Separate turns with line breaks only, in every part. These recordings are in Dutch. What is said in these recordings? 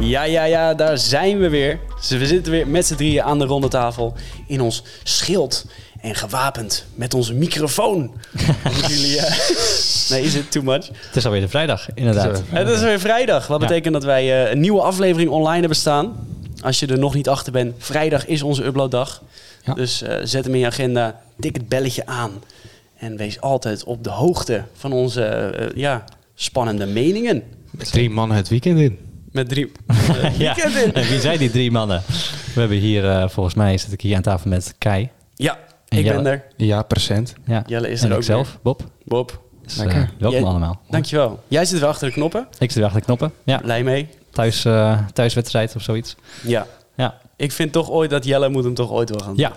Ja, ja, ja, daar zijn we weer. Dus We zitten weer met z'n drieën aan de ronde tafel in ons schild en gewapend met onze microfoon. Moet jullie, eh, nee, is het too much?
Het is alweer de vrijdag, inderdaad.
Het is weer vrijdag, wat
Ja.
betekent dat wij eh, een nieuwe aflevering online hebben staan. Als je er nog niet achter bent, vrijdag is onze uploaddag.
Ja.
Dus eh, zet hem in je agenda, tik het belletje aan en wees altijd op de hoogte van onze eh, ja, spannende meningen.
Met drie man het weekend in.
Met eh, drie.
ja. En wie zijn die drie mannen? We hebben hier, eh, volgens mij zit ik hier aan tafel met Kai.
Ja,
En
ik ben
Jelle.
er.
Ja, procent.
Ja.
Jelle is
en
er ook
ikzelf, Bob.
Bob,
Dus,
Lekker.
eh, welkom
Jij-
allemaal.
dankjewel. Jij zit weer achter de knoppen.
Ik zit weer achter de knoppen. Ja,
Blij mee.
thuis, eh, thuiswedstrijd of zoiets.
Ja.
Ja,
Ik vind toch ooit dat Jelle moet hem toch ooit wel gaan.
ja.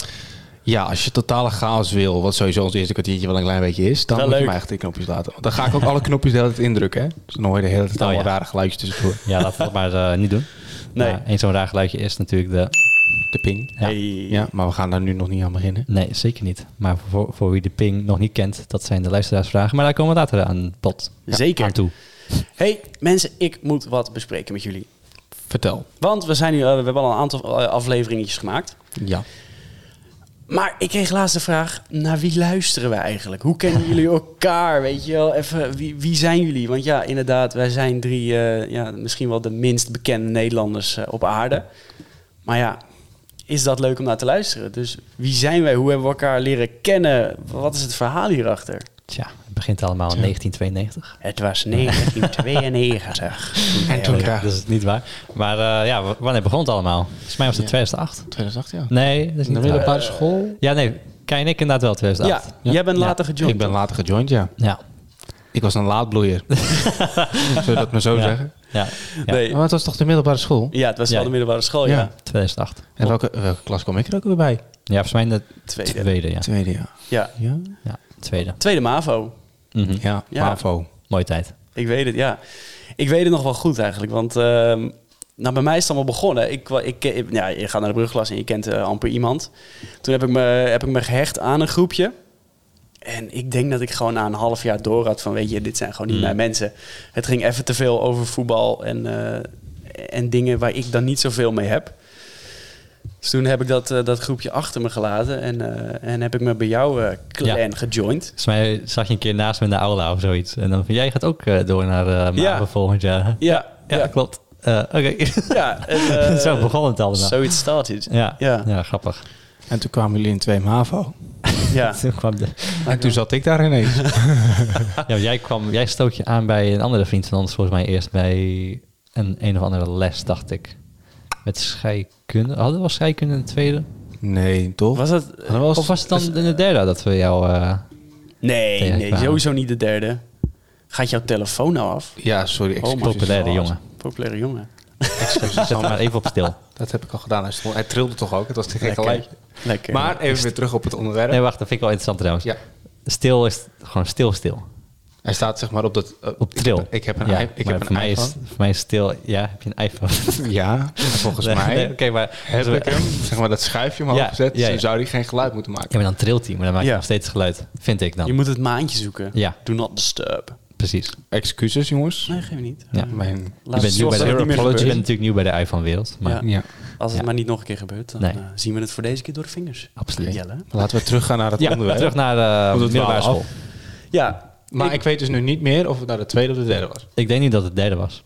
Ja, als je totale chaos wil, wat sowieso ons eerste kwartiertje wel een klein beetje is, dan
Wel
moet je
leuk.
mij echt die knopjes laten. Want dan ga ik ook alle knopjes de hele tijd indrukken, hè? Dus dan hoor je de hele tijd
Oh,
allemaal
ja.
rare geluidjes tussendoor.
ja laten we dat maar eh, niet doen.
Nee.
Maar één zo'n raar geluidje is natuurlijk de...
De ping.
Ja.
Hey.
Ja, maar we gaan daar nu nog niet aan beginnen.
Nee, zeker niet. Maar voor, voor wie de ping nog niet kent, dat zijn de luisteraarsvragen. Maar daar komen we later aan bod.
Zeker.
Aan toe.
Hey mensen, ik moet wat bespreken met jullie.
Vertel.
Want we, zijn nu, eh, we hebben al een aantal eh, afleveringetjes gemaakt.
Ja.
Maar ik kreeg laatst de vraag, naar wie luisteren we eigenlijk? Hoe kennen jullie elkaar, weet je wel? Even, wie, wie zijn jullie? Want ja, inderdaad, wij zijn drie, eh, ja, misschien wel de minst bekende Nederlanders eh, op aarde. Maar ja, is dat leuk om naar te luisteren? Dus wie zijn wij? Hoe hebben we elkaar leren kennen? Wat is het verhaal hierachter?
Tja, het begint allemaal in 1992.
Het was 1992.
En toen
Ja, dat is niet waar. Maar eh, ja, w- wanneer begon het allemaal? Volgens mij was het
Ja.
2008.
2008, ja.
Nee, dat is
In de
niet waar.
middelbare school.
Ja, nee, Kai en ik inderdaad wel
ja,
2008.
jij bent
Ja.
later gejoind.
Ik ben later gejoind, ja.
Ja.
Ik was een laadbloeier. Zullen we dat maar zo
Ja.
zeggen?
Ja. Ja.
Nee.
Maar het was toch de middelbare school?
Ja, het was wel
Ja.
de middelbare school, ja.
Ja.
2008.
En welke, welke klas kwam ik er ook weer bij?
Ja, volgens mij in de
Tweede.
tweede. ja.
Tweede, ja.
Ja.
Ja?
ja tweede.
Tweede MAVO.
Mhm.
Ja,
Ja.
MAVO.
Mooie tijd.
Ik weet het, ja. Ik weet het nog wel goed eigenlijk, want... ehm, nou, bij mij is het allemaal begonnen. Ik, kwa- ik, ik- ja, je gaat naar de brugklas en je kent eh, amper iemand. Toen heb ik, me, heb ik me gehecht aan een groepje. En ik denk dat ik gewoon na een half jaar door had van... weet je, dit zijn gewoon niet
Mm.
mijn mensen. Het ging even te veel over voetbal en, eh, en dingen waar ik dan niet zoveel mee heb. Dus toen heb ik dat, eh, dat groepje achter me gelaten... en, eh, en heb ik me bij jou eh clan
Ja.
gejoind.
Volgens mij zag je een keer naast me in de aula of zoiets. En dan van, jij gaat ook eh, door naar eh
Ja.
MAVO volgend jaar.
Ja,
Ja,
ja.
klopt. Eh, Oké.
Ja, en, eh,
Zo begon het allemaal.
So it started.
Ja.
Ja.
Ja. grappig.
En toen kwamen jullie in twee MAVO.
Ja,
Toen kwam de-
En toen zat ik daar ineens.
ja, maar jij, kwam, jij stoot je aan bij een andere vriend van ons, volgens mij eerst bij een, een of andere les, dacht ik. Met scheikunde. Hadden we al scheikunde in de tweede?
Nee, toch?
was dat...
Dat was-
Of was het dan in de derde dat we jou... eh,
Nee,
Ja,
nee,
ik-
sowieso niet de derde. Gaat jouw telefoon nou af?
Ja, sorry.
Oh,
Excuses.
maar-
populaire jongen.
Populaire jongen.
Excuses,
Zet hem
Sander.
maar even op stil.
Dat heb ik al gedaan. Hij, stond- hij trilde toch ook? Het was te gek gelijk.
Lekker.
Maar even weer terug op het onderwerp.
Nee, wacht, dat vind ik wel interessant trouwens.
Ja.
Stil is gewoon stil, stil.
Hij staat zeg maar op dat... eh,
Op
ik
tril.
heb- Ik heb een,
ja,
i- ik
maar
heb
voor
een
mij
iPhone.
Is, voor mij is stil... Ja, heb je een iPhone?
Ja, volgens
Nee,
mij
nee, Oké, maar...
heb
dus we-
ik hem. Zeg maar dat schuifje omhoog
Ja,
gezet. Dus
ja,
dan
ja.
zou hij geen geluid moeten
Ja,
maken.
maar dan trilt hij, maar dan maakt
Ja.
hij nog steeds geluid. Vind ik dan.
Je moet het maandje zoeken.
Ja.
Do not disturb.
Precies.
Excuses, jongens.
Nee, geef me niet.
Ja.
Mijn...
Laat
je bent nu bij de
het niet meer
Je bent
gebeurt.
natuurlijk nieuw bij de iPhone-wereld, maar...
Ja.
Ja.
Als het
Ja.
maar niet nog een keer gebeurt, dan
Nee.
eh, zien we het voor deze keer door de vingers.
Absoluut.
Jelle.
Laten we teruggaan naar het
Ja,
onderwerp.
terug naar
eh,
de
Omdat we
middelbare
al af-
school.
Ja,
Maar ik... weet dus nu niet meer of het nou de tweede of de derde was.
Ik denk niet dat het derde was.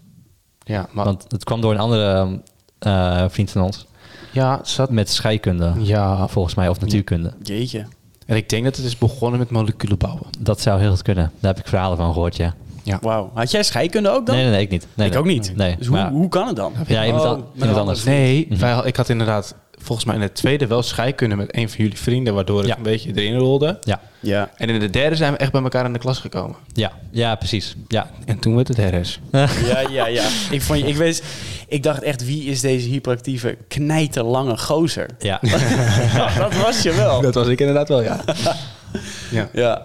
Ja, maar...
Want het kwam door een andere eh, vriend van ons.
ja, zat...
Met scheikunde,
Ja.
volgens mij, of natuurkunde.
jeetje.
En ik denk dat het is begonnen met moleculen bouwen.
Dat zou heel goed kunnen. Daar heb ik verhalen van gehoord, ja.
Ja.
Wauw. Had jij scheikunde ook dan?
Nee, nee, nee, ik niet. Nee,
ik
nee.
ook niet.
Nee.
Dus hoe,
maar-
hoe kan het dan?
ja, iemand,
Oh,
al-
met een
iemand
andere
anders.
Nee, wij had- ik had inderdaad volgens mij in het tweede wel scheikunde met een van jullie vrienden, waardoor het
Ja.
een beetje erin rolde.
Ja,
Ja.
En in de derde zijn we echt bij elkaar in de klas gekomen.
ja, ja, precies. Ja.
En toen werd het RS.
Ja, ja, ja. Ik, vond, ik, wist, ik dacht echt, wie is deze hyperactieve knijterlange gozer?
Ja.
Ja, dat was je wel.
Dat was ik inderdaad wel, ja. ja.
Ja.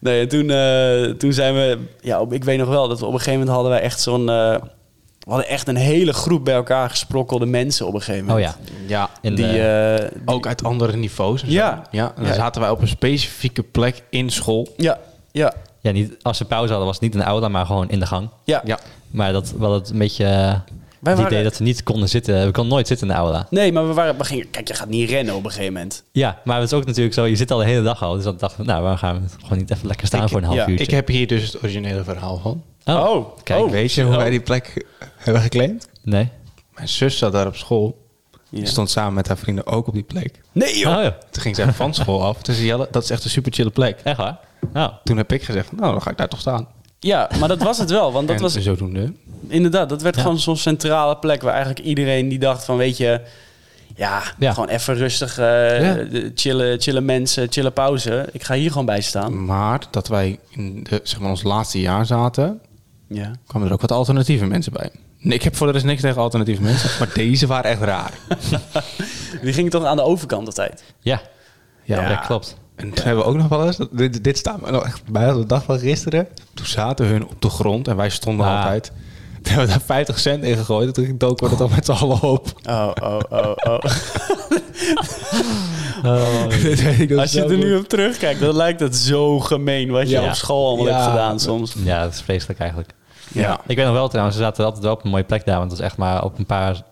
Nee, en toen, eh, toen zijn we... Ja, op, ik weet nog wel dat we op een gegeven moment hadden wij echt zo'n... eh, we hadden echt een hele groep bij elkaar gesprokkelde mensen op een gegeven
Oh
moment.
ja.
Ja,
In
Die,
de-
eh, die-
ook uit andere niveaus. en zo.
Ja.
ja en dan
Ja.
zaten wij op een specifieke plek in school.
ja, ja.
Ja, niet, als ze pauze hadden, was het niet in de aula, maar gewoon in de gang.
Ja.
Ja.
Maar dat wel het een beetje eh, het
waren-
idee dat we niet konden zitten. We konden nooit zitten in de aula.
Nee, maar we, waren, we gingen... Kijk, je gaat niet rennen op een gegeven moment.
Ja, maar het is ook natuurlijk zo, je zit al de hele dag al. Dus dan dachten we, nou, waarom gaan we gewoon niet even lekker staan
Ik-
voor een half
ja,
uurtje?
Ik heb hier dus het originele verhaal van.
oh,
Oh,
kijk.
oh.
Weet je hoe
Oh.
wij die plek hebben geclaimd?
Nee.
Mijn zus zat daar op school.
Ja.
Stond samen met haar vrienden ook op die plek.
Nee joh!
Oh, ja.
Toen ging zij van school af. Toen zei Jelle, dat is echt een super chille plek.
Echt waar? Nou,
Toen heb ik gezegd, nou dan ga ik daar toch staan.
Ja, maar dat was het wel. Want dat
en
was
zodoende.
inderdaad, dat werd
Ja.
gewoon zo'n centrale plek waar eigenlijk iedereen die dacht van, weet je, ja,
Ja.
gewoon even rustig eh,
Ja.
de- chillen, chillen mensen, chillen pauze. Ik ga hier gewoon bij staan.
Maar dat wij in de, zeg maar ons laatste jaar zaten,
Ja.
kwamen er ook wat alternatieve mensen bij. Nee, ik heb voor de rest niks tegen alternatieve mensen, maar deze waren echt raar.
Die ging toch aan de overkant altijd.
ja. Ja,
Ja.
dat klopt.
En toen hebben we ook nog wel eens, dat- dit, dit staat me nog echt bij als de dag van gisteren. Toen zaten hun op de grond en wij stonden
Ah.
altijd. Toen hebben we daar 50 cent in gegooid en toen doken we dat al met z'n allen op.
Oh, oh, oh, oh.
Dit weet ik nog
Als je
zo
er nu
goed.
op terugkijkt, dan lijkt het zo gemeen wat je
Ja.
op school allemaal
Ja.
hebt gedaan soms.
Ja, dat is vreselijk eigenlijk.
Ja.
Ik weet nog wel trouwens, we zaten altijd wel op een mooie plek daar. Want het was echt maar op een paar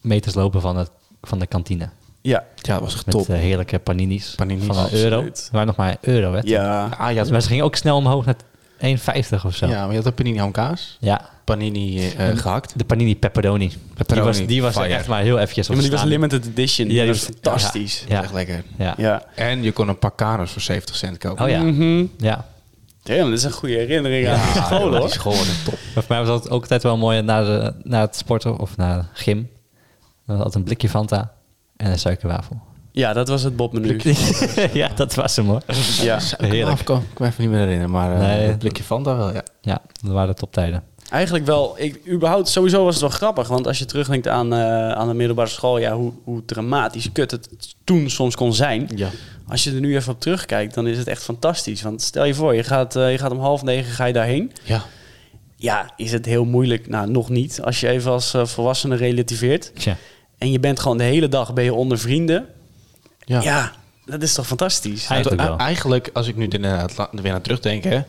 meters lopen van, het, van de kantine.
Ja.
ja, dat was echt
Met
top.
eh, heerlijke paninis,
Paninis,
van een euro.
absoluut.
Maar nog maar een euro, hè?
Ja.
Ah, je had,
Maar ze gingen ook snel omhoog naar 1,50 of zo.
ja,
Ja.
maar je had een panini hamkaas, panini eh, eh, gehakt.
De panini pepperoni. Die
Pepperoni,
was, die was er
fire.
echt maar heel eventjes
Ja, maar die was
ontstaan.
limited edition. Die
Ja, die
was
was-
fantastisch.
Ja.
Echt lekker.
Ja.
Ja.
En je kon een paar kanos voor 70 cent kopen.
Oh ja.
Mhm.
ja. Ah,
Damn, dat is een goede herinnering aan die school,
Ja, die
hoor.
school was top.
Maar voor mij was dat ook altijd wel mooi naar, de, naar het sporten of naar de gym. Dan had ik altijd een blikje Fanta en een suikerwafel.
Ja, dat was het Bobmenu.
ja, dat was hem hoor.
Ja.
Heerlijk.
Ik kan ik me even niet meer herinneren, maar eh,
Nee.
een blikje Fanta wel, ja.
Ja, dat waren de toptijden.
Eigenlijk wel, ik, überhaupt, sowieso was het wel grappig. Want als je terugdenkt aan, eh, aan de middelbare school, ja, hoe, hoe dramatisch kut het toen soms kon zijn.
Ja.
Als je er nu even op terugkijkt, dan is het echt fantastisch. Want stel je voor, je gaat, eh, je gaat om half negen ga je daarheen.
Ja.
Ja, is het heel moeilijk? Nou, nog niet. Als je even als eh, volwassene relativeert.
Tja.
En je bent gewoon de hele dag ben je onder vrienden.
Ja.
Ja, dat is toch fantastisch?
Hij- Eigenlijk
Eigenlijk,
wel.
eigenlijk, als ik nu inderdaad la- weer naar terugdenk, hè,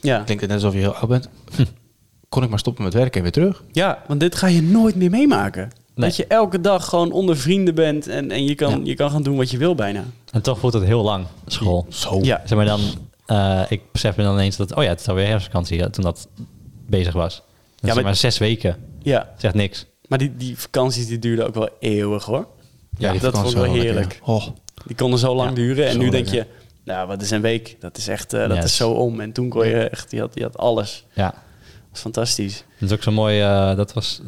Ja.
klinkt het net alsof je heel oud bent, kon ik maar stoppen met werken en weer terug.
ja, want dit ga je nooit meer meemaken.
Nee.
Dat je elke dag gewoon onder vrienden bent en, en je, kan,
Ja.
je kan gaan doen wat je wil bijna.
En toch voelt het heel lang, school.
Zo.
Ja.
Zeg maar dan, eh, ik besef me dan ineens dat, oh ja, het is alweer herfstvakantie hè, toen dat bezig was. Dat ja,
maar-
maar, zes weken.
Ja,
Zegt niks.
maar die, die vakanties die duurden ook wel eeuwig hoor.
Ja, die
dat vond
vakantie
ik wel
was wel
heerlijk.
lekker, Oh,
Die konden zo lang
Ja,
duren en
zo
nu denk
lekker.
je, nou wat is een week? Dat is echt, eh, dat
Ja,
is
is-
zo om. En toen kon je echt, die had, die had alles.
Ja.
Dat was fantastisch.
Dat is ook zo mooi, eh, dat was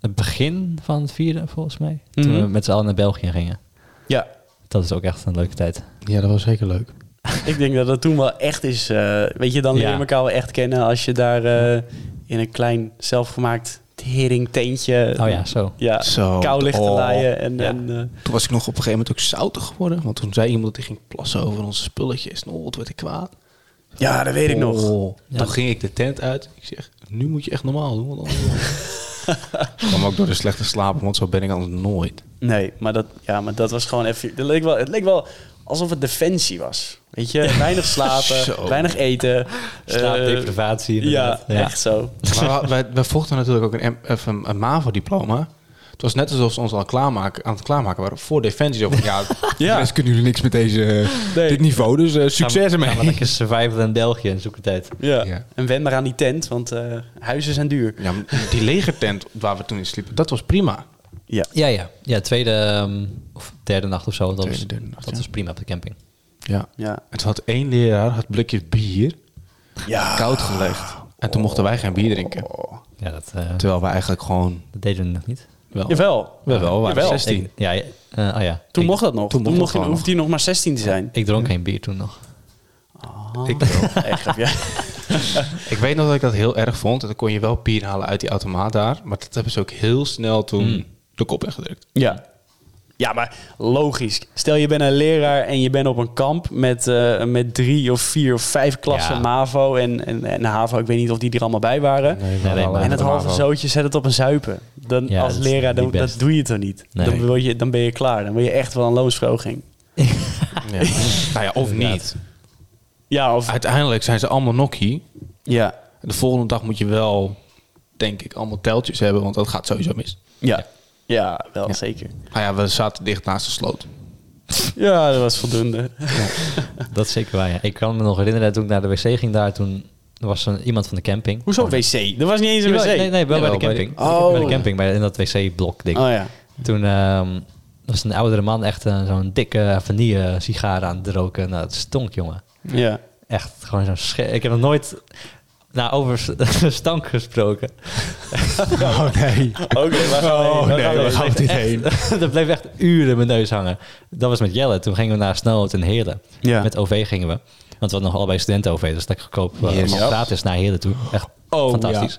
het begin van het vierde volgens mij. Toen
Mhm.
we met z'n allen naar België gingen.
Ja,
Dat is ook echt een leuke
Eh,
tijd.
ja, dat was zeker leuk.
ik denk dat dat toen wel echt is. eh, weet je, dan leer je
Ja.
elkaar wel echt kennen als je daar eh, in een klein zelfgemaakt teringteentje...
Oh ja, zo.
Ja,
Zo.
kou ligt te
Oh.
laaien en...
Ja.
en eh,
Toen was ik nog op een gegeven moment ook zoutig geworden, want toen zei iemand dat hij ging plassen over onze spulletjes. Nou, wat werd ik kwaad.
Ja, dat weet ik nog.
Oh,
Ja.
Toen ging ik de tent uit. Ik zeg, nu moet je echt normaal doen. Want anders... Ik kwam ook door de slechte slapen, want zo ben ik anders nooit.
Nee, maar dat, ja, maar dat was gewoon even... Dat leek wel, het leek wel alsof het defensie was. Weet je, weinig slapen,
Zo.
weinig eten. eh,
Slaapdeprivatie
ja,
inderdaad. Ja,
echt zo.
Maar we- wij, wij vochten natuurlijk ook een, M- of een, een MAVO-diploma. Het was net alsof ze ons al klaarmaken, aan het klaarmaken waren voor Defensie. Zo van, ja,
Ja.
ja. kunnen jullie niks met deze,
Nee.
dit niveau, dus eh, succes
Gaan we- gaan we
ermee.
lekker survival in België en zoeken tijd.
Ja.
Ja.
En wen maar aan die tent, want eh, huizen zijn duur.
Ja, maar die legertent waar we toen in sliepen, dat was prima.
Ja.
Ja, ja. Ja, tweede ehm, of derde nacht of zo. Dat,
Tweede,
was,
derde nacht,
dat
ja.
was prima op de camping.
Ja.
Ja.
Het had één leraar, had blikjes bier,
Ja.
koud gelegd. En toen mochten wij geen bier drinken.
Ja, dat, eh,
Terwijl we eigenlijk gewoon
dat deden we nog niet.
wel...
Jawel.
We wel, we waren
Jawel.
16.
Ik- ja, eh, oh ja.
Toen
ik,
mocht dat nog. Toen,
toen mocht
mocht
dat
je,
gewoon
hoefde hij nog maar 16 te zijn.
Ik dronk geen bier toen nog.
Ik wel. Echt, grap, ja.
Ik weet nog dat ik dat heel erg vond. En dan kon je wel bier halen uit die automaat daar. Maar dat hebben ze ook heel snel toen de kop ingedrukt.
Ja. Ja, maar logisch. Stel je bent een leraar en je bent op een kamp met, eh, met drie of vier of vijf klassen
Ja.
MAVO en, en, en HAVO. Ik weet niet of die er allemaal bij waren.
we waren allemaal
en het
de
halve zootje zet het op een zuipen. Dan,
Ja,
als
dat is
leraar, dan,
niet best.
dat doe je toch niet.
Nee.
Dan, wil je, dan ben je klaar. Dan wil je echt wel een loonsverhoging.
nou ja, of niet.
Ja, of...
Uiteindelijk zijn ze allemaal nokkie.
Ja.
De volgende dag moet je wel, denk ik, allemaal teltjes hebben, want dat gaat sowieso mis.
Ja. Ja, wel
Ja.
zeker.
Nou ja, we zaten dicht naast de sloot.
Ja, dat was voldoende.
Dat is zeker waar, ja. Ik kan me nog herinneren, toen ik naar de wc ging daar, toen was er iemand van de camping.
Hoezo wc? Er was niet eens een
Jawel,
wc.
Nee, nee, wel bij de
Jawel, bij de-
camping.
Oh.
Bij de camping, bij, in dat wc-blok ding.
Oh ja.
Toen ehm, was een oudere man echt een- zo'n dikke eh, vanille sigaar aan het roken. Nou, het stonk, jongen.
Ja.
Echt gewoon zo'n sche- Ik heb nog nooit nou, over s- stank gesproken.
Oh nee.
Oké, waar gaan we
Oh
heen?
nee, waar gaan we dit heen?
Echt, dat bleef echt uren in mijn neus hangen. Dat was met Jelle. Toen gingen we naar Snelhout en Heerlen.
Ja.
Met OV gingen we. Want we hadden nog allebei studenten-OV. Dus dat goedkoop eh,
Yes. Oh,
allemaal gratis naar Heerlen toe. Echt fantastisch.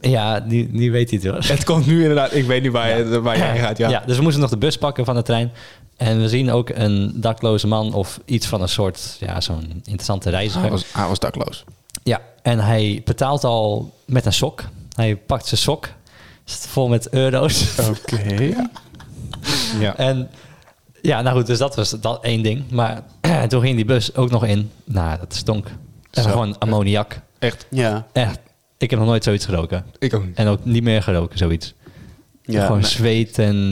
Ja, die, die weet hij het wel.
Het komt nu inderdaad, ik weet niet waar, je, waar je heen gaat. Ja.
Ja. dus we moesten nog de bus pakken van de trein. En we zien ook een dakloze man of iets van een soort, ja, zo'n interessante
Dus Hij,
reiziger.
Ah, was, hij was dakloos.
Ja, en hij betaalt al met een sok. Hij pakt zijn sok, zit vol met euro's.
Oké. Ja.
En ja, nou goed, dus dat was dat één ding. Maar toen ging die bus ook nog in. Nou, dat stonk. En
Zo.
gewoon ammoniak.
Echt,
Ja.
Echt, ik heb nog nooit zoiets geroken.
ik ook niet.
En ook niet meer geroken, zoiets.
Ja.
gewoon
Nee.
zweet en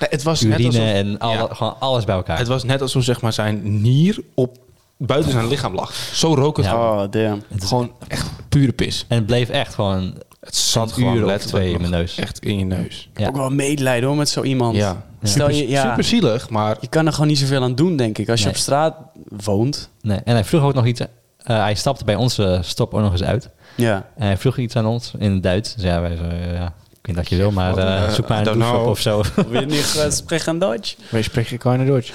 Nee, het was net
urine
alsof,
en alle,
Ja.
gewoon alles bij elkaar.
het was net alsof zeg maar, zijn nier op buiten zijn lichaam lag. Zo rook het
Ja.
gewoon.
Oh, damn.
Het is-
gewoon echt pure pis.
En het bleef echt gewoon...
Het zat
Een
gewoon
uur of
letterlijk
twee in
nog
mijn neus.
Echt in je neus.
Ja.
Ook wel medelijden hoor met zo iemand.
Ja.
Stel je, ja,
Super zielig, maar
je kan er gewoon niet zoveel aan doen, denk ik. Als je
Nee.
op straat woont.
Nee. En hij vroeg ook nog iets... eh, hij stapte bij onze stop ook nog eens uit.
Ja.
En hij vroeg iets aan ons in het Duits. Dus ja, wij zo... eh, ja, ik weet dat je wil, maar
Wat,
eh,
eh,
zoek maar
I
een
don't
douche op
know.
of zo.
Wil je niet spreken Duits?
wij spreken keine Duits.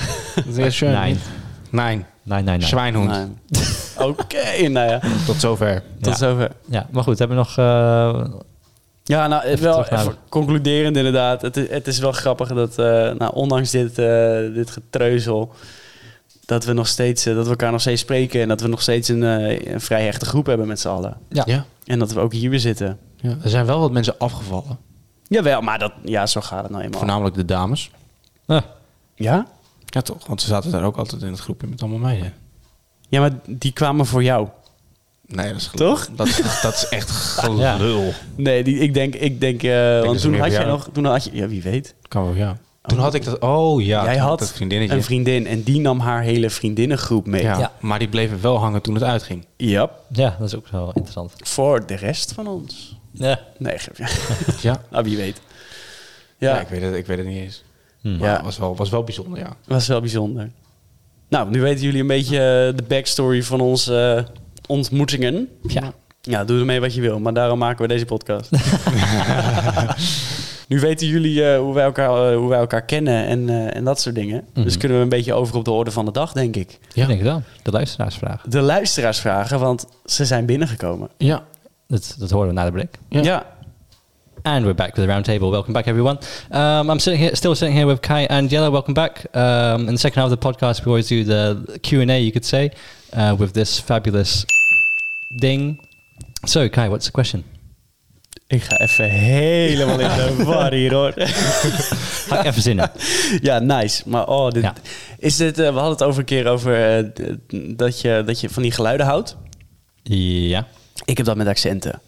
Sehr schön.
Nee,
Nein.
nee, nee. nee.
Schweinhund.
Oké, nou ja.
Tot zover.
Tot
Ja.
zover.
Ja, maar goed, hebben we nog... eh,
Ja, nou, eh, wel
terug naar-
even concluderend inderdaad. Het is, het is wel grappig dat, eh, nou, ondanks dit, eh, dit getreuzel, dat we nog steeds, eh, dat we elkaar nog steeds spreken en dat we nog steeds een, eh, een vrij hechte groep hebben met z'n allen.
ja.
Ja.
En dat we ook hier weer zitten.
ja. Er zijn wel wat mensen afgevallen.
Jawel, maar dat, ja, zo gaat het nou eenmaal.
Voornamelijk de dames.
Ah,
Ja?
Ja toch, want ze zaten daar ook altijd in het groepje met allemaal meiden.
Ja, maar die kwamen voor jou.
Nee, dat is gelul.
Toch?
Dat, is- dat is echt gelul.
Nee, die, ik denk, ik denk, eh,
dat
want
is
toen
meer
had
voor
jij
jou.
nog, toen had je, ja, wie weet.
Kan wel, ja. Toen had ik dat, oh ja.
jij
toen
had
dat vriendinnetje.
een vriendin en die nam haar hele vriendinnengroep mee.
ja.
Ja.
Maar die bleven wel hangen toen het uitging.
Yep.
ja, dat is ook wel interessant.
Voor de rest van ons.
Ja.
Nee, geef-
Ja.
nou, wie weet.
Ja,
Ja,
ik, weet het, ik weet het niet eens.
Hmm.
Maar
Ja.
het was wel, was wel bijzonder, ja.
was wel bijzonder. Nou, nu weten jullie een beetje eh, de backstory van onze eh, ontmoetingen.
Ja.
Ja, doe ermee wat je wil, maar daarom maken we deze podcast. nu weten jullie eh, hoe, wij elkaar, eh, hoe wij elkaar kennen en, eh, en dat soort dingen. Dus
Mhm.
kunnen we een beetje over op de orde van de dag, denk ik.
ja, denk ik wel. De luisteraarsvraag.
De luisteraars vragen, want ze zijn binnengekomen.
Ja.
Dat, dat horen we na de break.
Ja.
Ja.
And we're back with the roundtable. Welcome back, everyone. Um, I'm sitting here, still sitting here with Kai and Yella. Welcome back. Um, in the second half of the podcast, we always do the Q and A, you could say, uh, with this fabulous ding. So, Kai, what's the question?
Ik ga even helemaal in de war hier, hoor.
Had ik even zin in.
Ja, nice. Maar oh, dit,
Ja.
is dit, eh, we hadden het over een keer over eh, d- dat, je, dat je van die geluiden houdt.
Ja.
Ik heb dat met accenten.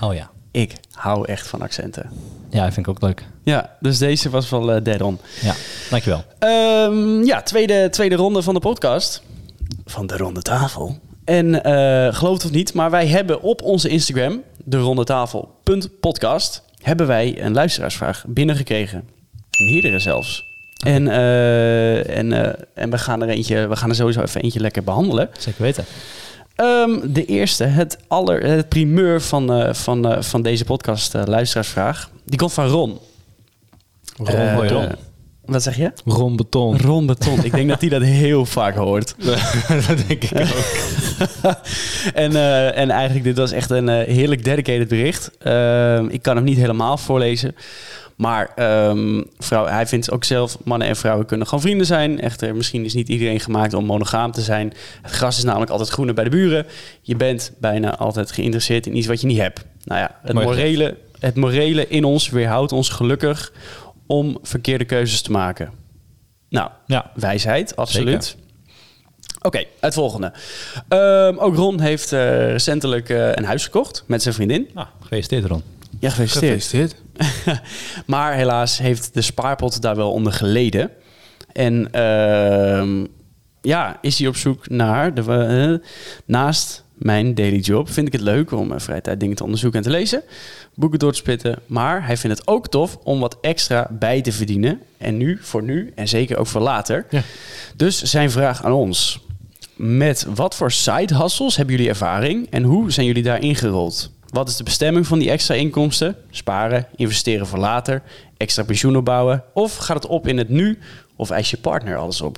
Oh ja.
Ik hou echt van accenten.
Ja, ik vind ik ook leuk.
Ja, dus deze was wel eh, dead on.
Ja, dankjewel.
Ehm, ja, tweede, tweede ronde van de podcast. Van de Ronde Tafel. En eh geloof het of niet, maar wij hebben op onze Instagram, de rondetafel.podcast, hebben wij een luisteraarsvraag binnengekregen. Meerdere zelfs. En, eh, en, eh, en we, gaan er eentje, we gaan er sowieso even eentje lekker behandelen.
Zeker weten.
Ehm, de eerste, het, aller, eh, het primeur van, eh, van, eh, van deze podcast, eh, luisteraarsvraag. Die komt van Ron.
Ron,
Eh,
hoi, Ron.
Wat zeg je?
Ron Beton.
Ron Beton. Ik denk dat hij dat heel vaak hoort.
dat denk ik ook.
En, eh, en eigenlijk, dit was echt een eh, heerlijk dedicated bericht. Ehm, ik kan hem niet helemaal voorlezen. Maar ehm, vrouw, hij vindt ook zelf, mannen en vrouwen kunnen gewoon vrienden zijn. Echter, misschien is niet iedereen gemaakt om monogaam te zijn. Het gras is namelijk altijd groener bij de buren. Je bent bijna altijd geïnteresseerd in iets wat je niet hebt. Nou ja, het
Mooi
morele, het morele in ons weerhoudt ons gelukkig om verkeerde keuzes te maken. Nou,
Ja.
wijsheid, absoluut. Oké, het volgende. Ehm, ook Ron heeft eh, recentelijk eh, een huis gekocht met zijn vriendin.
Ah, gefeliciteerd Ron.
Ja, gefeliciteerd.
Gefeliciteerd.
maar helaas heeft de spaarpot daar wel onder geleden. En ehm, ja, is hij op zoek naar... De, eh, naast mijn daily job vind ik het leuk om mijn vrije tijd dingen te onderzoeken en te lezen. Boeken door te spitten. Maar hij vindt het ook tof om wat extra bij te verdienen. En nu, voor nu en zeker ook voor later.
Ja.
Dus zijn vraag aan ons. Met wat voor side hustles hebben jullie ervaring en hoe zijn jullie daarin gerold? Wat is de bestemming van die extra inkomsten? Sparen, investeren voor later, extra pensioen opbouwen? Of gaat het op in het nu? Of eist je partner alles op?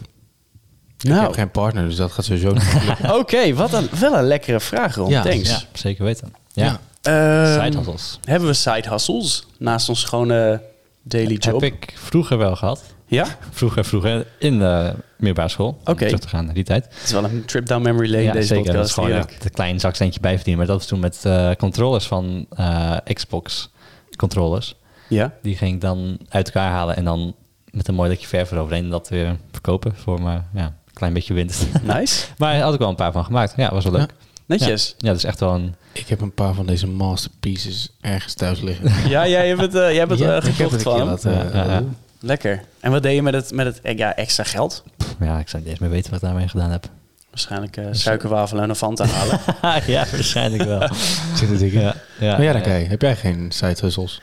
Ik heb
Nou,
geen partner, dus dat gaat sowieso niet lukken.
oké, wat een, wel een lekkere vraag, Ron.
Ja,
Thanks.
Ja, zeker weten. Ja.
Ehm,
Side hustles.
hebben we side hustles naast ons gewone daily job?
Heb ik vroeger wel gehad.
Ja?
Vroeger, vroeger in de middelbare school. Om
Oké.
Terug te gaan naar die tijd.
Het is wel een trip down memory lane deze
Dat is
podcast.
gewoon
heerlijk.
echt een klein zakcentje bijverdienen. Maar dat was toen met eh, controllers van eh, Xbox controllers.
Ja?
Die ging ik dan uit elkaar halen en dan met een mooi likje verf eroverheen dat weer verkopen voor maar ja, een klein beetje winst.
Nice.
maar daar had ik wel een paar van gemaakt. Ja, was wel leuk.
Netjes.
Ja, dat is echt wel een...
Ik heb een paar van deze masterpieces ergens thuis liggen.
Ja, jij hebt het, eh, jij hebt het eh,
Ja, ik heb het
gekocht
een
van
keer
hem.
laten, eh,
Ja, ja, ja.
doen.
Lekker. En wat deed je met het, met het eh, ja, extra geld?
Pff, Ja, ik zou niet eens meer weten wat ik daarmee gedaan heb.
Waarschijnlijk eh suikerwafelen en een Fanta halen.
ja, waarschijnlijk wel.
Zit het ik in?
ja, ja,
Maar ja, dan kijk, heb jij geen side hustles?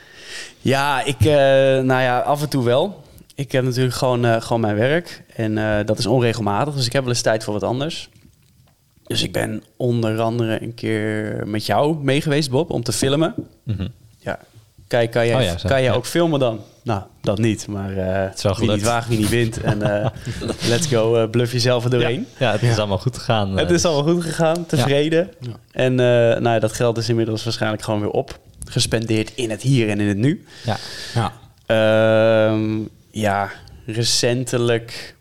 ja, ik, eh, nou ja, af en toe wel. Ik heb natuurlijk gewoon, eh, gewoon mijn werk. En eh, dat is onregelmatig, dus ik heb wel eens tijd voor wat anders. Dus ik ben onder andere een keer met jou mee geweest, Bob, om te filmen.
Mhm.
Ja. Kijk, kan jij,
Oh ja, zo,
kan jij
ja.
ook filmen dan? Nou, dat niet. Maar eh,
is wel
wie niet
gelukt.
waagt, wie niet wint. En eh, let's go, eh, bluff jezelf er doorheen.
Ja, ja, het is allemaal goed gegaan. eh, dus-
Het is allemaal goed gegaan, tevreden.
Ja.
En eh, nou ja, dat geld is inmiddels waarschijnlijk gewoon weer op. Gespendeerd in het hier en in het nu.
Ja.
Ja.
Ehm, ja, recentelijk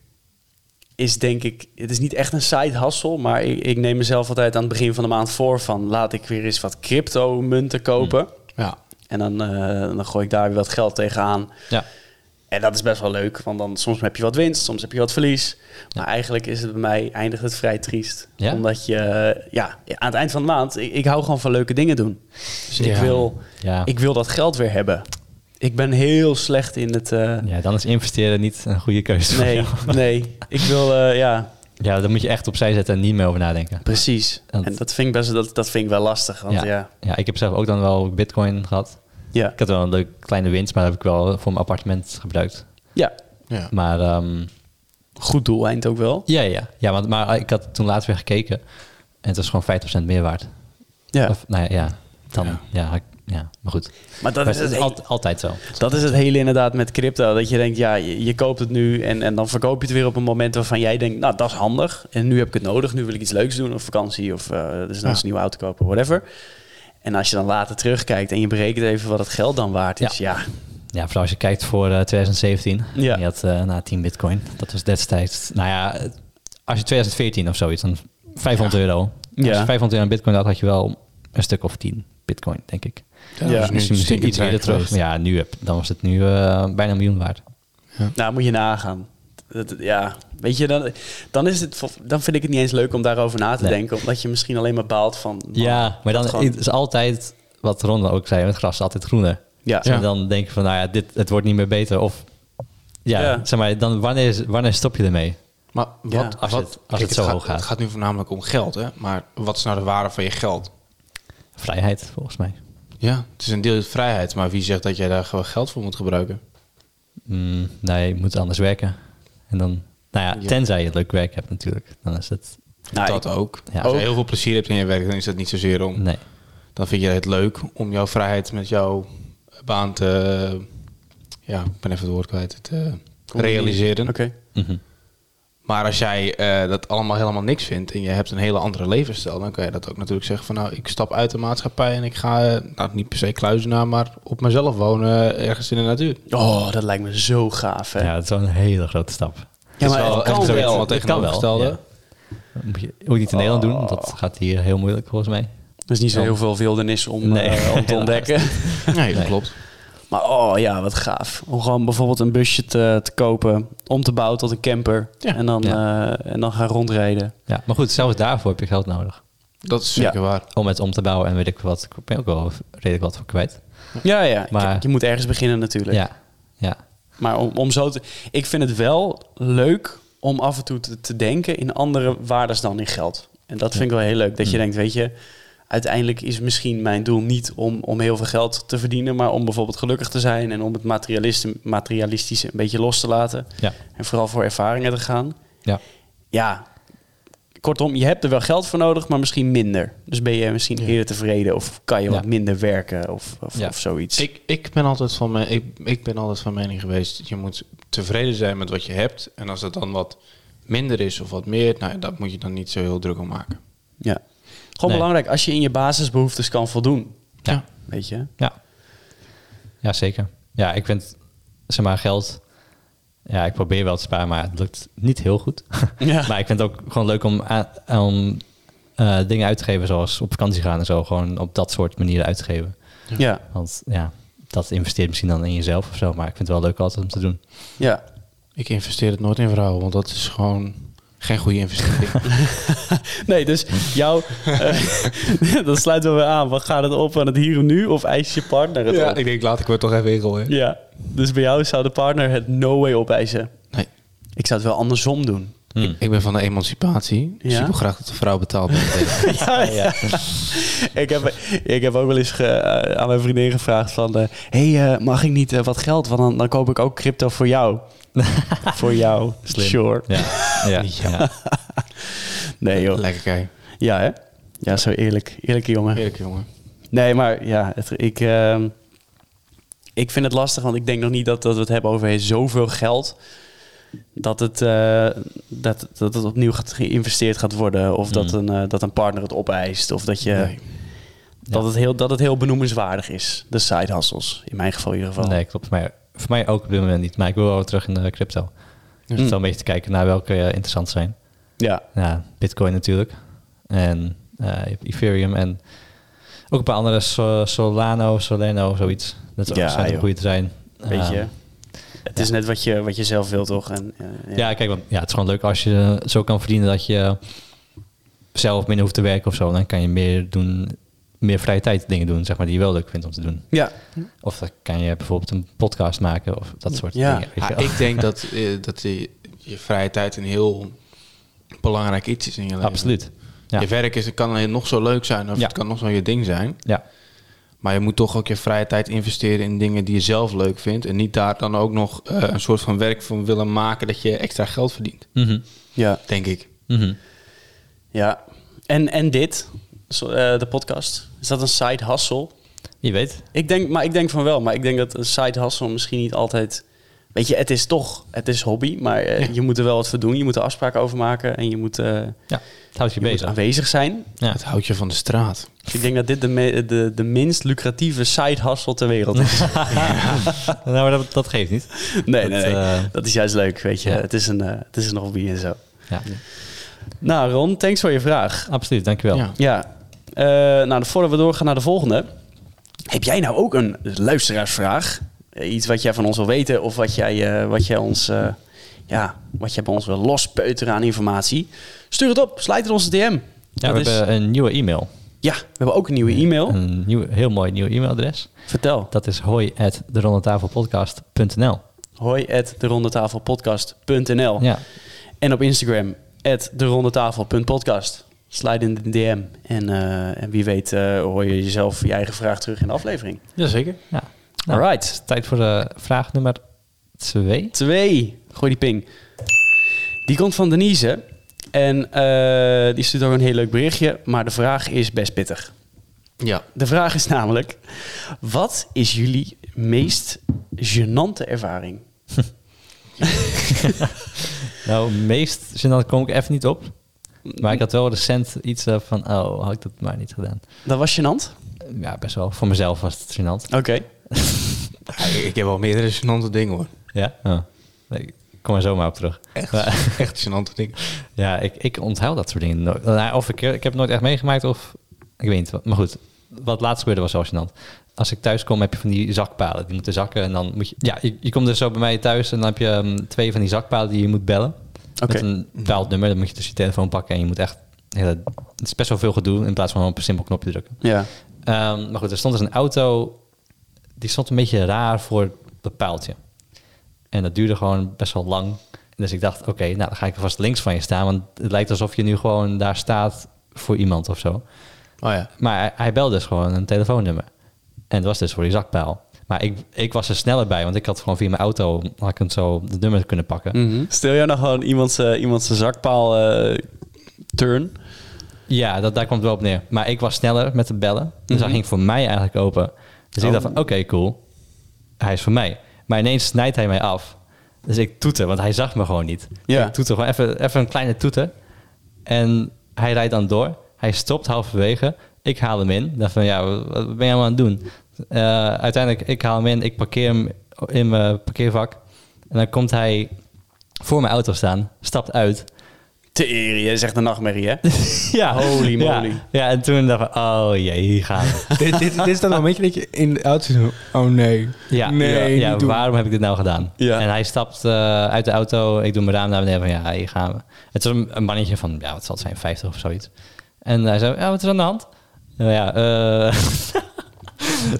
is denk ik... Het is niet echt een side hustle, maar ik, ik neem mezelf altijd aan het begin van de maand voor van... laat ik weer eens wat crypto munten kopen.
Ja.
En dan, eh, dan gooi ik daar weer wat geld tegenaan.
Ja.
En dat is best wel leuk, want dan soms heb je wat winst, soms heb je wat verlies. Maar eigenlijk is het bij mij eindigt het vrij triest.
Ja?
Omdat je, eh, ja, aan het eind van de maand, ik, ik hou gewoon van leuke dingen doen. Dus ik,
Ja.
wil,
Ja.
ik wil dat geld weer hebben. Ik ben heel slecht in het. eh,
ja, dan is investeren niet een goede keuze. voor
nee,
jou.
nee. Ik wil, eh, ja,
Ja, dan moet je echt opzij zetten en niet meer over nadenken.
precies.
Want-
En dat vind ik best dat, dat vind ik wel lastig. Want ja, ja,
ja, ik heb zelf ook dan wel bitcoin gehad.
ja.
Ik had wel een leuk kleine winst, maar dat heb ik wel voor mijn appartement gebruikt.
ja.
Maar ehm,
goed doeleind ook wel.
ja, ja, ja want, maar ik had toen laatst weer gekeken en het was gewoon 50% meer waard.
Ja,
Of, nou ja, ja, dan,
Ja.
ja. ik- ja, maar goed.
maar dat
Maar
is het
al- altijd zo.
Dat is het hele inderdaad met crypto. Dat je denkt, ja, je, je koopt het nu en, en dan verkoop je het weer op een moment waarvan jij denkt, nou, dat is handig. En nu heb ik het nodig, nu wil ik iets leuks doen of vakantie of eh dus
Ja.
een nieuwe auto kopen, whatever. En als je dan later terugkijkt en je berekent even wat het geld dan waard is, ja.
Ja, vooral als je kijkt voor eh, 2017.
Ja.
Je had eh na 10 bitcoin. Dat was destijds. Nou ja, als je 2014 of zoiets, dan 500 euro. Als je
Ja.
500 euro aan bitcoin had, had je wel een stuk of 10 bitcoin, denk ik.
Ja,
dat is dus
Misschien,
nu
misschien
stinkend
iets eerder
rijk
terug.
geweest.
Maar ja, nu heb, dan was het nu eh, bijna een miljoen waard.
Nou, moet je nagaan. Dat, ja, weet je, dan, dan, is het, vol- dan vind ik het niet eens leuk om daarover na te
Nee.
denken. Omdat je misschien alleen maar baalt van... man,
ja, maar dan
dat gewoon-
het is altijd, wat Ron dan ook zei, het gras is altijd groener.
Ja.
Dus dan denk je van, nou ja, dit, het wordt niet meer beter. Of ja,
Ja.
zeg maar, dan wanneer, is- wanneer stop je ermee?
Maar wat,
Ja,
als
wat,
het- als
kijk,
het zo
gaat,
hoog gaat.
Het gaat nu voornamelijk om geld, hè? Maar wat is nou de waarde van je geld?
Vrijheid, volgens mij.
Ja, het is een deel vrijheid, maar wie zegt dat jij daar gewoon geld voor moet gebruiken?
Mm, nee, je moet anders werken. En dan, nou ja,
Ja.
tenzij je leuk werk hebt natuurlijk. Dan is het,
Nou,
dat
ik-
ook.
Ja.
Als je
Ook.
heel veel plezier hebt in je werk, dan is dat niet zozeer om.
nee.
Dan vind je het leuk om jouw vrijheid met jouw baan te. Ja, ik ben even het woord kwijt. Te realiseren.
Oké.
Mhm.
Maar als jij eh, dat allemaal helemaal niks vindt en je hebt een hele andere levensstijl, dan kan je dat ook natuurlijk zeggen van nou, ik stap uit de maatschappij en ik ga, eh, nou niet per se kluizenaar, maar op mezelf wonen eh, ergens in de natuur.
Oh, dat lijkt me zo gaaf, hè?
Ja, dat is wel een hele grote stap.
Ja, maar
Het is
het kan
echt zoiets
wel.
wat tegenovergestelde.
ja. Dat Moet je ook niet in Nederland doen, want dat gaat hier heel moeilijk volgens mij.
Er is niet zo heel veel wildernis om,
Nee.
eh, om te ontdekken.
Nee, dat
Nee.
klopt.
Maar oh ja, wat gaaf. Om gewoon bijvoorbeeld een busje te, te kopen, om te bouwen tot een camper.
Ja.
En, dan, eh, en dan gaan rondrijden.
Ja, maar goed, zelfs daarvoor heb je geld nodig.
Dat is zeker
Ja.
waar.
Om het om te bouwen en weet ik wat. Ik ben ook wel redelijk wat voor kwijt.
Ja, ja.
Maar-
Kijk, je moet ergens beginnen natuurlijk.
Ja, ja.
Maar om, om zo te... Ik vind het wel leuk om af en toe te, te denken in andere waardes dan in geld. En dat vind ik wel heel leuk. Dat
Mm.
je denkt, weet je, uiteindelijk is misschien mijn doel niet om, om heel veel geld te verdienen, maar om bijvoorbeeld gelukkig te zijn en om het materialiste- materialistische een beetje los te laten.
Ja.
En vooral voor ervaringen te gaan.
Ja.
Ja, kortom, je hebt er wel geld voor nodig, maar misschien minder. Dus ben je misschien eerder tevreden of kan je
Ja.
wat minder werken of, of,
Ja.
of zoiets.
Ik, ik, ben altijd van mijn, ik, ik ben altijd van mening geweest, dat je moet tevreden zijn met wat je hebt. En als dat dan wat minder is of wat meer, nou, ja, dat moet je dan niet zo heel druk om maken.
Ja. Gewoon
Nee.
belangrijk als je in je basisbehoeftes kan voldoen.
Ja.
Weet je?
Ja. Ja, zeker. Ja, ik vind, zeg maar, geld... Ja, ik probeer wel te sparen, maar het lukt niet heel goed.
Ja.
maar ik vind het ook gewoon leuk om, aan- om eh, dingen uit te geven, zoals op vakantie gaan en zo. Gewoon op dat soort manieren uit te geven.
Ja.
Want ja, dat investeert misschien dan in jezelf of zo. Maar ik vind het wel leuk altijd om te doen.
ja.
Ik investeer het nooit in vrouwen, want dat is gewoon geen goede investering.
Nee, dus jouw... eh, dan sluiten we weer aan. Wat gaat het op aan het hier en nu? Of eist je partner het op?
denk, laat ik het toch even regelen.
Ja. Dus bij jou zou de partner het no way opeisen.
Nee,
Ik zou het wel andersom doen.
Hmm.
ik ben van de emancipatie. Dus
Ja?
ik wil graag dat de vrouw betaalt. bij het leven.
ja, ja. ik, heb, ik heb ook wel eens ge- eh, aan mijn vriendin gevraagd van... eh, hey, eh, mag ik niet eh, wat geld? Want dan, dan koop ik ook crypto voor jou. voor jou.
Slim.
Sure.
Ja, ja, ja.
Nee, joh.
Lekker kijk.
Ja, hè? Ja, zo eerlijk. Eerlijke jongen.
Eerlijk jongen.
Nee, maar ja, het, ik, ehm, ik vind het lastig, want ik denk nog niet dat, dat we het hebben over zoveel geld. Dat het, eh, dat, dat het opnieuw gaat- geïnvesteerd gaat worden. Of dat,
Mm.
een, eh, dat een partner het opeist. Of dat, je,
Nee.
dat, het heel, dat het heel benoemenswaardig is. De side hustles. In mijn geval in ieder geval.
Nee, klopt. Maar voor mij ook op dit moment niet. Maar ik wil wel terug in de crypto.
Hmm.
Dus wel een beetje te kijken naar welke eh, interessant zijn.
Ja,
Ja, Bitcoin natuurlijk. En eh, je hebt Ethereum en ook een paar andere Sol- Solano, Soleno, zoiets. Dat
Ja,
ja, zijn
joh.
goede te zijn.
weet je.
Ehm,
Het is net wat je, wat je zelf wilt, toch? En, eh,
Ja, kijk, want ja, het is gewoon leuk als je zo kan verdienen dat je zelf minder hoeft te werken of zo. Dan kan je meer doen, meer vrije tijd dingen doen, zeg maar, die je wel leuk vindt om te doen.
ja.
Of dan kan je bijvoorbeeld een podcast maken of dat soort
Ja. Ah,
dingen. weet
Ja,
je wel.
ik denk dat, eh, dat je, je vrije tijd een heel belangrijk iets is in je leven.
Absoluut. Ja.
Je werk is, het kan nog zo leuk zijn of
Ja.
het kan nog zo je ding zijn.
Ja.
Maar je moet toch ook je vrije tijd investeren in dingen die je zelf leuk vindt. En niet daar dan ook nog eh, een soort van werk van willen maken dat je extra geld verdient.
Mhm.
ja.
Denk ik.
Mhm.
Ja, en, en dit, zo, eh, de podcast, is dat een side hustle?
Je weet.
Ik denk, maar ik denk van wel, maar ik denk dat een side hustle misschien niet altijd... Weet je, het is toch, het is hobby, maar eh,
Ja.
je moet er wel wat voor doen. Je moet er afspraken over maken en je moet, eh,
Ja, het houdt je,
je moet
bezig.
aanwezig zijn. Dus
Ja.
Het houdt je van de straat.
Ik denk dat dit de, me- de, de minst lucratieve side hustle ter wereld is.
nou, maar dat, dat geeft niet.
nee, nee,
Dat,
nee.
eh,
dat is juist leuk, weet je.
ja.
Het, is een, eh, het is een hobby en zo.
Ja,
Nou Ron, thanks voor je vraag.
absoluut. Dankjewel.
Ja.
Ja. Eh, nou, voordat we doorgaan naar de volgende. Heb jij nou ook een luisteraarsvraag? Eh, Iets wat jij van ons wil weten of wat jij, eh, wat jij ons... eh, ja, wat jij bij ons wil lospeuteren aan informatie. Stuur het op. Slijt het onze DM.
Ja, we
Dat is-
hebben een nieuwe e-mail.
ja, we hebben ook een nieuwe e-mail.
Een nieuw, heel mooi nieuw e-mailadres.
Vertel.
Dat is hoi at derondetafelpodcast.nl.
Hoi at derondetafelpodcast.nl
Ja,
En op Instagram at derondetafel.podcast. Slijt in de DM. En, eh, en wie weet eh, hoor je jezelf je eigen vraag terug in de aflevering.
Jazeker.
ja. Nou,
Alright.
Tijd voor de vraag nummer twee.
Twee. Gooi die ping. Die komt van Denise. En eh, die stuurt ook een heel leuk berichtje. Maar de vraag is best pittig.
Ja.
De vraag is namelijk: wat is jullie meest gênante ervaring?
Nou, meest zin, dan kom ik even niet op. Maar ik had wel recent iets eh, van, oh, had ik dat maar niet gedaan.
Dat was gênant.
Ja, best wel. Voor mezelf was het gênant.
Oké.
Ik heb wel meerdere gênante dingen hoor.
Ja? Oh. Nee, ik kom er zomaar op terug.
Echt,
Maar-
echt gênante dingen.
ja, ik, ik onthoud dat soort dingen. nooit. Nou, Of ik, ik heb het nooit echt meegemaakt of... Ik weet niet. wat- Maar goed, wat laatst gebeurde was wel gênant. als ik thuis kom, heb je van die zakpalen. Die moeten zakken. En dan moet je. Ja, je, je komt dus zo bij mij thuis en dan heb je ehm, twee van die zakpalen die je moet bellen.
Oké.
Met een bepaald nummer. Dan moet je dus je telefoon pakken en je moet echt. Hele, het is best wel veel gedoe in plaats van op een simpel knopje drukken.
Ja.
Ehm, maar goed, er stond dus een auto. Die stond een beetje raar voor dat paaltje. En dat duurde gewoon best wel lang. En dus ik dacht, oké, nou dan ga ik er vast links van je staan. Want het lijkt alsof je nu gewoon daar staat voor iemand of zo.
Oh ja.
Maar hij, hij belde dus gewoon een telefoonnummer. En dat was dus voor die zakpijl. Maar ik, ik was er sneller bij, want ik had gewoon via mijn auto had ik hem zo het nummer kunnen pakken.
Stel jij nou gewoon iemand zijn iemand zijn zakpaal eh, turn?
Ja, dat, daar komt het wel op neer. Maar ik was sneller met het bellen. Dus hij ging voor mij eigenlijk open. Dus ik dacht van, oké, cool. Hij is voor mij. Maar ineens snijdt hij mij af. Dus ik toeter, want hij zag me gewoon niet. Dus
Ja.
Ik toeter gewoon even, even een kleine toeter. En hij rijdt dan door. Hij stopt halverwege. Ik haal hem in. Ik dacht van, ja, wat- wat ben je allemaal aan het doen? Eh, uiteindelijk, ik haal hem in. Ik parkeer hem in mijn parkeervak. En dan komt hij voor mijn auto staan. Stapt uit.
Te erie, jij zegt een nachtmerrie, hè?
Ja.
Holy moly.
Ja, ja, en toen dacht ik, oh jee, hier gaan we.
dit, dit, dit is dan een beetje dat je in de auto zit zo, Oh nee.
Ja, ja,
nee,
ja,
niet doen.
waarom heb ik dit nou gedaan?
Ja.
En hij stapt eh, uit de auto, ik doe mijn raam naar beneden van, ja, hier gaan we. Het was een, een mannetje van, ja, wat zal het zijn, 50 of zoiets. En hij zei, ja, wat is er aan de hand? Nou ja, eh,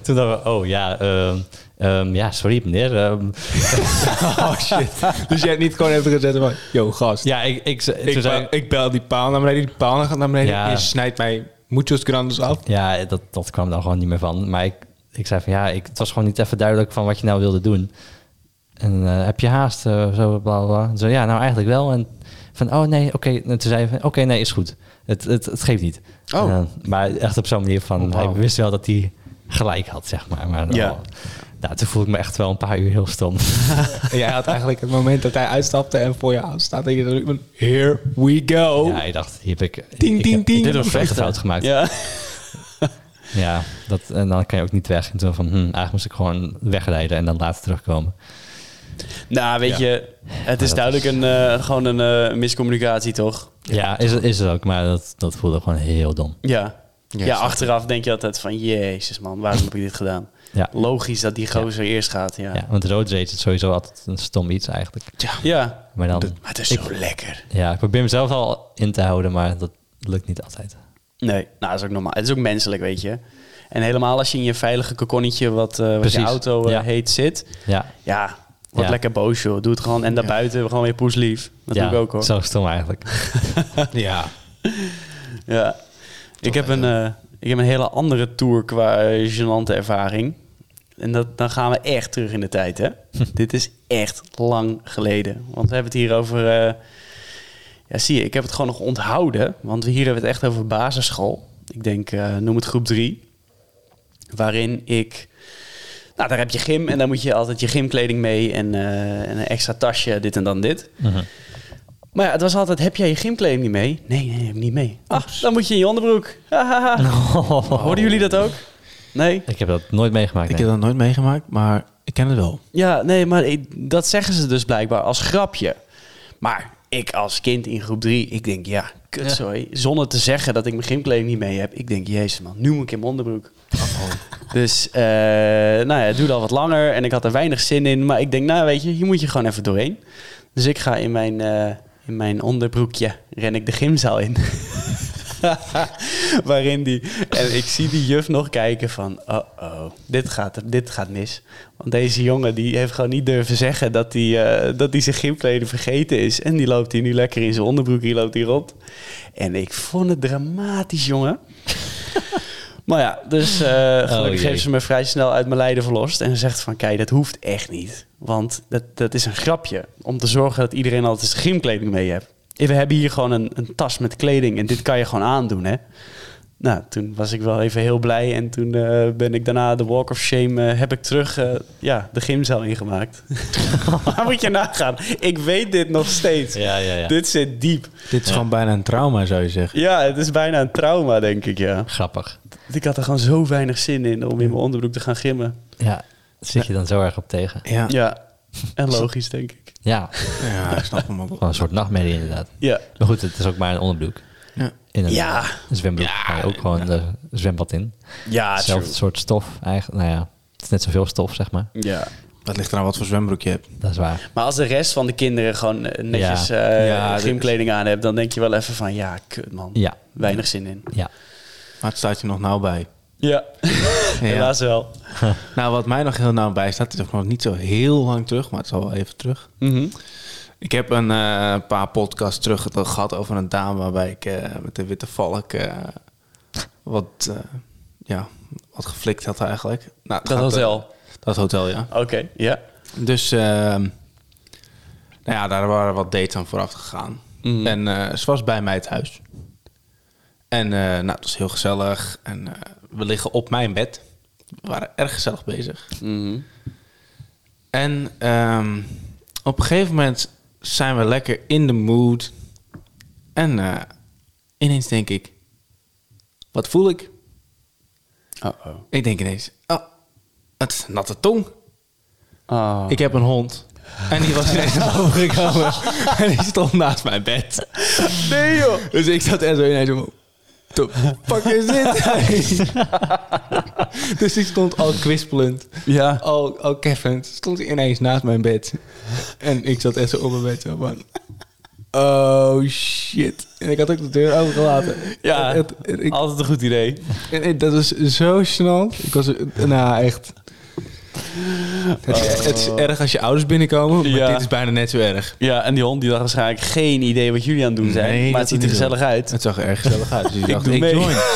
toen dachten we, oh ja, ehm, ehm, ja, sorry meneer. ehm,
Oh shit. dus jij hebt niet gewoon even gezet van... Yo, gast.
ja, ik, ik, toen
ik,
zei
bel, ik bel die paal naar beneden. Die paal gaat naar beneden.
Ja.
Je snijdt mij muchos grandes af.
Ja, dat, dat kwam dan gewoon niet meer van. Maar ik, ik zei van ja, ik, het was gewoon niet even duidelijk van wat je nou wilde doen. En eh, heb je haast? eh, zo, bla bla, bla. Zo ja, nou eigenlijk wel. En van oh nee, oké. En toen zei hij van oké, nee, is goed. Het, het, het geeft niet.
Oh.
En dan- maar echt op zo'n manier van
wauw.
hij wist wel dat hij gelijk had, zeg maar. maar
Ja.
oh, nou, toen voelde ik me echt wel een paar uur heel stom.
En jij had eigenlijk het moment dat hij uitstapte en voor je auto staat. En je dacht van, here we go.
Ja, ik dacht, hier heb ik...
Ding,
ik
ding,
heb-
ding.
Dit was
Vechten.
echt een fout gemaakt. Ja,
Ja.
dat, en dan kan je ook niet weg. En toen van, hm, eigenlijk moest ik gewoon wegrijden en dan later terugkomen.
Nou, weet
Ja.
je, het is
dat
duidelijk een, eh, gewoon een eh, miscommunicatie, toch?
Ja, is het, is het ook, maar dat, dat voelde gewoon heel dom.
Ja.
Ja,
Ja,
snap
achteraf denk je altijd van, jezus man, waarom heb ik dit gedaan?
Ja.
Logisch dat die gozer eerst gaat, ja.
Ja,
Ja,
want road rage is sowieso altijd een stom iets eigenlijk. Maar dan,
maar het is zo lekker.
ja, ik probeer mezelf al in te houden, maar dat lukt niet altijd.
Nee, nou, dat is ook normaal. Het is ook menselijk, weet je. En helemaal als je in je veilige kokonnetje, wat, eh, wat je
Precies,
auto eh,
ja.
heet, zit.
Ja,
Ja, word
Ja.
lekker boos, joh. Doe het gewoon. En daarbuiten gewoon weer poeslief. Dat
ja,
doe ik ook, hoor.
Zo stom eigenlijk.
Ja.
Ja. Ik heb, een, eh, ik heb een hele andere tour qua eh, gênante ervaring. En dat, dan gaan we echt terug in de tijd, hè? Dit is echt lang geleden. Want we hebben het hier over... eh, ja, zie je, ik heb het gewoon nog onthouden. Want we hier hebben het echt over basisschool. Ik denk, eh, noem het groep 3. Waarin ik... Nou, daar heb je gym en dan moet je altijd je gymkleding mee... en, eh, en een extra tasje, dit en dan dit. Maar ja, het was altijd, heb jij je gymkleding niet mee? Nee, nee, heb ik niet mee. Ach, dan moet je in je onderbroek. Hahaha. Hoorden jullie dat ook? Nee?
Ik heb dat nooit meegemaakt.
Ik
nee.
heb dat nooit meegemaakt, maar ik ken het wel.
Ja, nee, maar ik- dat zeggen ze dus blijkbaar als grapje. Maar ik als kind in groep 3, ik denk, ja, kutzooi. Zonder te zeggen dat ik mijn gymkleding niet mee heb. Ik denk, jezus man, nu moet ik in mijn onderbroek. Dus, eh, nou ja, het duurde al wat langer en ik had er weinig zin in. Maar ik denk, nou weet je, hier moet je gewoon even doorheen. Dus ik ga in mijn, eh, in mijn onderbroekje, ren ik de gymzaal in. Waarin die. En ik zie die juf nog kijken van. Oh oh, dit gaat, dit gaat mis. Want deze jongen die heeft gewoon niet durven zeggen dat hij eh, dat hij zijn gymkleding vergeten is. En die loopt hier nu lekker in zijn onderbroek. Die loopt hier rond. En ik vond het dramatisch, jongen. maar ja, dus eh, gelukkig
jee.
heeft ze me vrij snel uit mijn lijden verlost. En ze zegt van, kijk, dat hoeft echt niet. Want dat, dat is een grapje. Om te zorgen dat iedereen altijd zijn gymkleding mee heeft. We hebben hier gewoon een, een tas met kleding. En dit kan je gewoon aandoen, hè. Nou, toen was ik wel even heel blij. En toen eh, ben ik daarna de Walk of Shame eh, heb ik terug eh, ja, de gymzaal ingemaakt. maar moet je nagaan. Ik weet dit nog steeds.
Ja, ja, ja.
Dit zit diep.
Dit is gewoon bijna een trauma, zou je zeggen.
Ja, het is bijna een trauma, denk ik, ja.
Grappig.
Ik had er gewoon zo weinig zin in om in mijn onderbroek te gaan gimmen.
Ja, zit je dan zo erg op tegen.
Ja, ja.
Ja, en logisch, denk ik.
Ja,
ik snap hem ook wel.
gewoon een soort nachtmerrie inderdaad.
Ja,
Maar goed, het is ook maar een onderbroek.
Ja.
In een
Ja.
zwembroek
Ja,
ga je ook gewoon de zwembad in.
Ja,
Hetzelfde
true.
soort stof eigenlijk. Nou ja, het is net zoveel stof, zeg maar.
Ja.
Dat ligt eraan wat voor zwembroek je hebt.
Dat is waar.
Maar als de rest van de kinderen gewoon eh, netjes eh
Ja, dit-
gymkleding aan hebben, dan denk je wel even van ja, kut man.
Ja,
Weinig zin in.
ja.
Maar het staat je nog nauw bij.
Ja, helaas wel.
Nou, wat mij nog heel nauw bij staat, is ook nog niet zo heel lang terug, maar het zal wel even terug. Ik heb een eh, paar podcasts terug het al gehad over een dame waarbij ik eh, met de witte valk eh, wat, eh, ja, wat geflikt had eigenlijk. Nou, het
Dat
gaat, eh,
hotel.
dat hotel, ja.
Oké, ja.
Dus ehm, nou ja, daar waren wat dates aan vooraf gegaan.
Mhm.
En eh, ze was bij mij thuis. En eh, nou, het was heel gezellig. En eh, we liggen op mijn bed. We waren erg gezellig bezig.
Mhm.
En ehm, op een gegeven moment zijn we lekker in de mood. En eh, ineens denk ik, wat voel ik?
Uh-oh.
Ik denk ineens, oh, het is een natte tong.
Oh.
Ik heb een hond. En die was ineens naar boven gekomen. en die stond naast mijn bed. Nee joh. Dus ik zat echt zo ineens van... "The fuck is dit? dus die stond al kwispelend.
Ja.
Al, al keffend. Oh, Stond hij ineens naast mijn bed. En ik zat echt zo op mijn bed zo van... Oh shit. En ik had ook de deur overgelaten.
Ja.
Het- het- ik-
Altijd een goed idee.
en ik- dat is zo snel. Ik was, nou echt. Het, is, het is erg als je ouders binnenkomen, maar
Ja.
dit is bijna net zo erg.
Ja, en die hond die dacht waarschijnlijk geen idee wat jullie aan het doen zijn.
Nee,
maar
dat
het ziet er
niet doen.
gezellig uit.
Het zag er erg gezellig uit. Dus ik dacht,
doe
ik
mee.
join.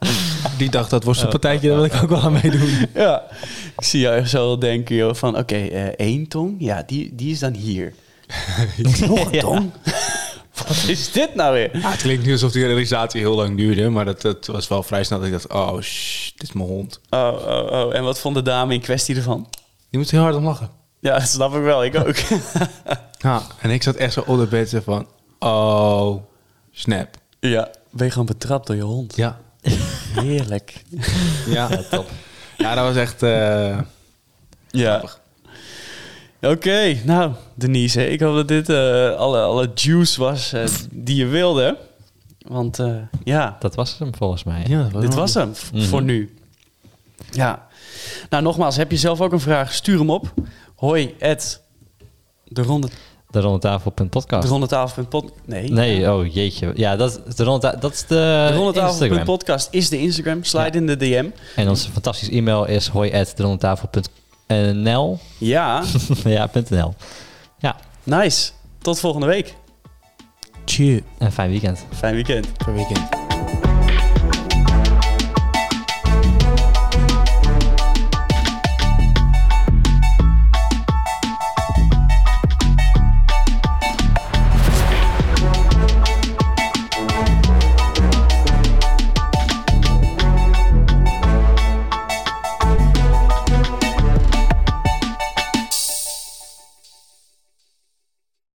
Oh. Die dacht, dat wordt een partijtje, daar wil ik ook wel aan meedoen.
Ja, ik zie jou echt zo denken joh, van oké, eh, één tong, ja, die, die is dan hier. Nog een tong? Wat is dit nou weer?
het klinkt nu alsof die realisatie heel lang duurde, maar dat, dat was wel vrij snel dat ik dacht, oh shh, dit is mijn hond.
Oh, oh, oh, en wat vond de dame in kwestie ervan?
Die moest heel hard om lachen.
Ja, dat snap ik wel, ik ook.
Ja, en ik zat echt zo op de bed zo van, oh snap.
ja, ben je gewoon betrapt door je hond?
Ja,
Heerlijk.
ja. top. Ja, dat was echt... eh,
Ja.
Grappig.
Oké, nou, Denise, ik hoop dat dit eh, alle, alle juice was eh, die je wilde. Want eh, ja,
Dat was hem volgens mij.
Dit was hem v-
Mhm.
voor nu. Ja. Nou, nogmaals, heb je zelf ook een vraag? Stuur hem op. Hoi, at de ronde,
De rondetafel.podcast.
de ronde tafel.pod. Nee.
Nee, oh jeetje. Ja, dat is de ronde, dat is de,
De ronde
Instagram.
tafel.podcast is de Instagram. Slide in de DM.
En onze fantastische e-mail is hoi at derondetafel.nl.
Ja,
ja, .nl. Ja,
nice. Tot volgende week.
Cheer.
een fijn weekend.
Fijn weekend.
Voor weekend.